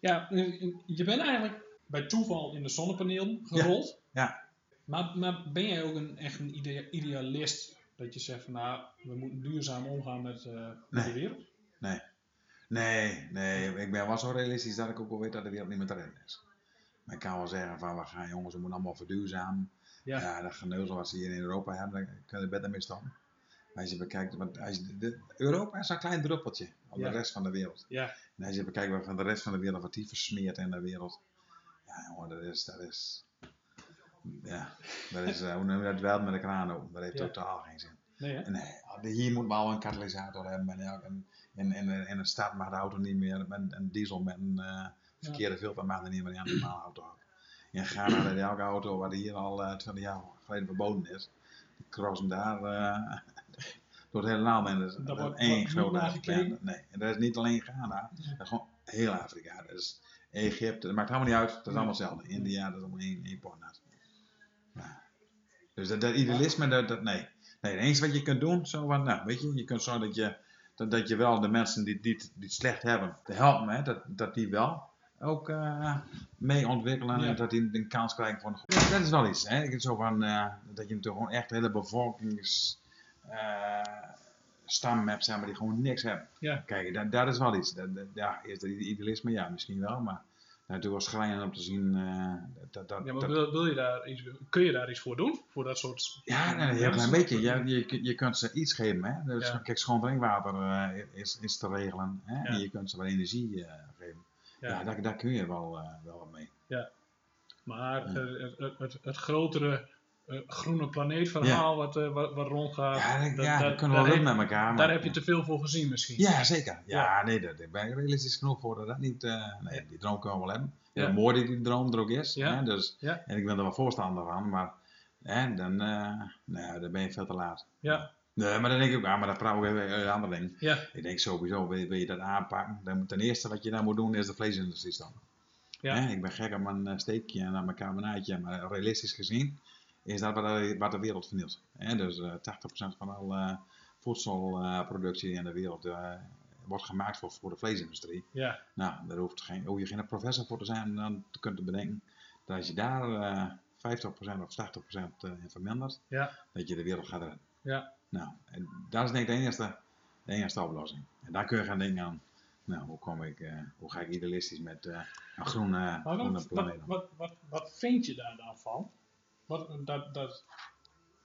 Ja, eh, eh, je bent eigenlijk bij toeval in de zonnepaneel gerold. Ja. Maar, maar ben jij ook een, echt een idea- idealist? Dat je zegt van nou, we moeten duurzaam omgaan met, eh, met de Nee. wereld? Nee, nee, ik ben wel zo realistisch dat ik ook wel weet dat de wereld niet meer te redden is. Maar ik kan wel zeggen van, we gaan jongens, we moeten allemaal verduurzamen. Ja. Ja, dat geneuzel wat ze hier in Europa hebben, daar kan je beter mee stoppen. Maar Als je bekijkt, want als je, de- Europa is een klein druppeltje op Ja. de rest van de wereld. Ja. En als je bekijkt wat van de rest van de wereld, wat die versmeert in de wereld. Ja, jongen, dat is. Dat is ja, dat is. eh, hoe noem je dat? Wel met de kraan open. Dat heeft Ja. totaal geen zin. Nee, hè? Nee, hier moet wel een katalysator hebben. En, elk- en, en, en, en een staat mag de auto niet meer. En een diesel met een eh, verkeerde filter mag er niet meer in een normale auto. In Ghana dat elke auto waar hier al eh, 20 jaar geleden verboden is. Die crossen daar eh, door het hele land. En dat is Daar dat is wordt- wordt één niet grote naar ellende. gekeken. Nee, en dat is niet alleen Ghana. Dat is gewoon heel Afrika. Dat is Egypte. Dat maakt helemaal niet uit. Dat is allemaal hetzelfde. India, dat is allemaal één, één pornaat. Ja. Dus dat, dat idealisme, dat, dat nee. Nee, het enige wat je kunt doen, zo van, nou, weet je, je kunt zorgen dat je, dat, dat je wel de mensen die, die, het- die het slecht hebben, te helpen, hè, dat, dat die wel ook eh, mee ontwikkelen Ja. en dat die een kans krijgen voor een goed. Dat is wel iets, hè. Ik vind Zo van, eh, dat je natuurlijk gewoon echt hele bevolkings... eh, stammen hebt, zeg maar, die gewoon niks hebben. Ja. Kijk, dat, dat is wel iets. Dat, dat- ja, is dat idealisme? Ja, misschien wel, maar dat is natuurlijk wel schrijnend om te zien eh, dat... dat, Ja, maar dat- wil, wil je daar iets, kun je daar iets voor doen? Voor dat soort... ja, nee, een heel klein beetje. Je, je, je kunt ze iets geven. Hè? Dus, Ja. Kijk, schoon drinkwater eh, is, is te regelen. Hè? Ja. En je kunt ze wel energie eh, geven. Ja, Ja. daar, daar kun je wel, eh, wel wat mee. Maar Ja. eh, het, het, het, het grotere eh, groene planeetverhaal wat, eh, wat, wat rondgaat, ja, dat, dat- ja, dat- dat kunnen we wel daar doen heb- met elkaar. maar- daar heb je te veel voor gezien misschien. Ja, zeker. Ja, nee, daar daar ben ik realistisch genoeg voor dat dat niet... eh, nee, die droom kunnen we wel hebben. Ja. Ja. Mooi dat die droom er ook is. Ja. Hè? Dus, Ja. En ik ben er wel voorstander van, maar hè, dan, eh, nou, dan ben je veel te laat. Ja. Nee, maar dan denk ik ook, ah, maar dat praat ook weer weer een ander ding. Ja, Ik denk sowieso, wil je, wil je dat aanpakken? Dan, moet- ten eerste wat je dan moet doen is de vleesindustrie dan. Ja. ik ben gek op mijn eh, steekje en aan mijn carbonaatje, maar realistisch gezien is dat wat, de- wat de wereld vernielt. Hè, dus eh 80% van al eh, voedselproductie in de wereld eh, wordt gemaakt voor, voor de vleesindustrie. ja, Nou, daar hoeft geen, hoef je geen professor voor te zijn om dan te kunnen bedenken dat als je daar eh 50% of 80% eh, in vermindert, ja, dat je de wereld gaat redden. ja. Nou, en dat is denk ik de enige de enige oplossing. En daar kun je gaan denken aan, nou, hoe, kom ik, eh, hoe ga ik idealistisch met eh, een groene, Maar groene wat, wat, planeet om? wat, wat, wat vind je daar dan van? Wat, dat, dat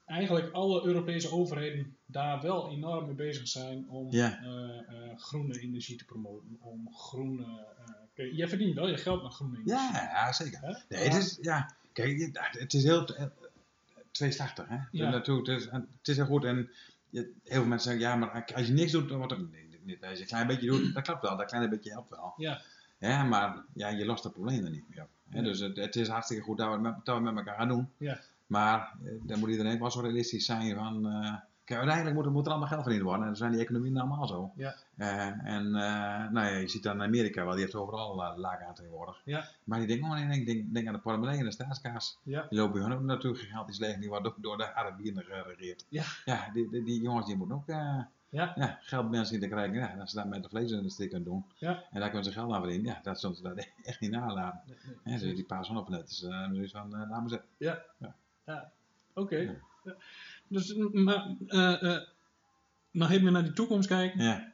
eigenlijk alle Europese overheden daar wel enorm mee bezig zijn om Ja. eh, eh, groene energie te promoten. Om groene. eh, kijk, jij verdient wel je geld met groene energie. Ja, ja, zeker. hè? Nee, het is, ja, kijk, je- het is heel eh, tweeslachtig, hè. Ja. Naartoe, het, is, en het is heel goed en je- heel veel mensen zeggen, ja, maar als je niks doet, dan wordt het... Nee, dit- dit- als je een klein beetje doet, dat klopt wel, dat kleine beetje helpt wel. Ja. Ja, maar ja, je lost het probleem er niet meer op. hè. Ja. Dus het, het is hartstikke goed dat we het met, dat we het met elkaar gaan doen. Ja. Maar eh, dan moet iedereen wel zo realistisch zijn van... eh, kijk, uiteindelijk moet, er- moet er allemaal geld verdiend worden. En dan zijn die economieën allemaal zo. Ja. Eh, en eh, nou ja, je ziet dan Amerika wel, die heeft overal eh, laag aan tegenwoordig. Ja. Maar die denken, oh nee, nee, ik denk, denk aan de portemonnee en de staatskaas. Ja. Die lopen hun ook naartoe gigantisch leeg. Die worden ook door de Arabieren geregeerd. Ja. Ja, die, die, die jongens die moeten ook eh, Ja. ja, geld mensen te krijgen. Ja, en als ze dat met de vleesindustrie kunnen doen. Ja. En daar kunnen ze geld aan verdienen. Ja, dat zullen ze dat echt niet nalaten. Nee, nee, Hè, dus die paar zonnepanelen. Dus eh, zoiets van, eh, laat maar zitten. Oké. Ja. Ja. Dus, m- maar eh, eh, nog even naar die toekomst kijken. Ja,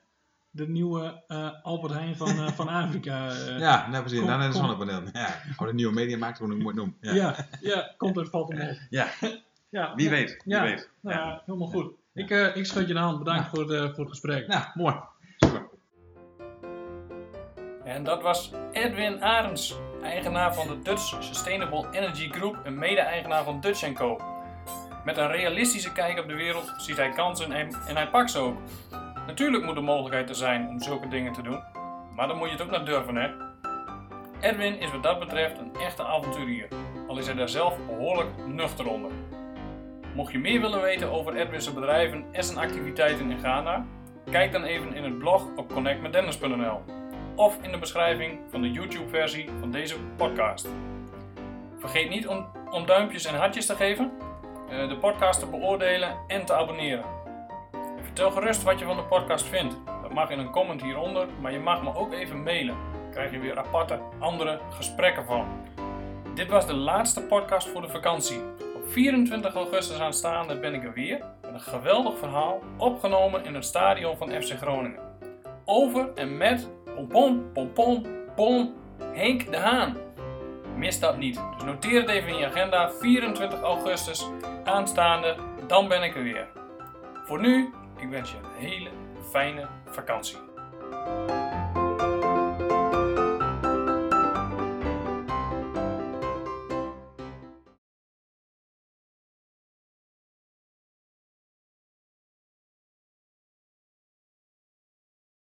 De nieuwe eh, Albert Heijn van, eh, van Afrika. eh, ja nou precies. kom- dan een kom. zonnepaneel. Ja. Oh, de nieuwe media maakt hoe ik het moet noemen. Ja. ja, ja, komt uit Valtemol. Ja. Ja, Wie weet, wie Ja. weet. Nou Ja. ja, helemaal goed. Ja. Ik, eh, ik schud je de hand. Bedankt voor, het, eh, voor het gesprek. Nou, mooi. Super. En dat was Edwin Arends, eigenaar van de Dutch Sustainable Energy Group en mede-eigenaar van Dutch Co. Met een realistische kijk op de wereld ziet hij kansen en, en hij pakt ze ook. Natuurlijk moet de mogelijkheid er zijn om zulke dingen te doen, maar dan moet je het ook naar durven, hè? Edwin is wat dat betreft een echte avonturier, al is hij daar zelf behoorlijk nuchter onder. Mocht je meer willen weten over Edwin's bedrijven en zijn activiteiten in Ghana, kijk dan even in het blog op connectmetdennis.nl of in de beschrijving van de YouTube-versie van deze podcast. Vergeet niet om, om duimpjes en hartjes te geven, eh, de podcast te beoordelen en te abonneren. Vertel gerust wat je van de podcast vindt. Dat mag in een comment hieronder, maar je mag me ook even mailen. Dan krijg je weer aparte, andere gesprekken van. Dit was de laatste podcast voor de vakantie. Op 24 augustus aanstaande ben ik er weer met een geweldig verhaal opgenomen in het stadion van FC Groningen over en met pompom, pompom, pom, Henk de Haan. Mis dat niet. Dus noteer het even in je agenda. 24 augustus aanstaande. Dan ben ik er weer. Voor nu, ik wens je een hele fijne vakantie.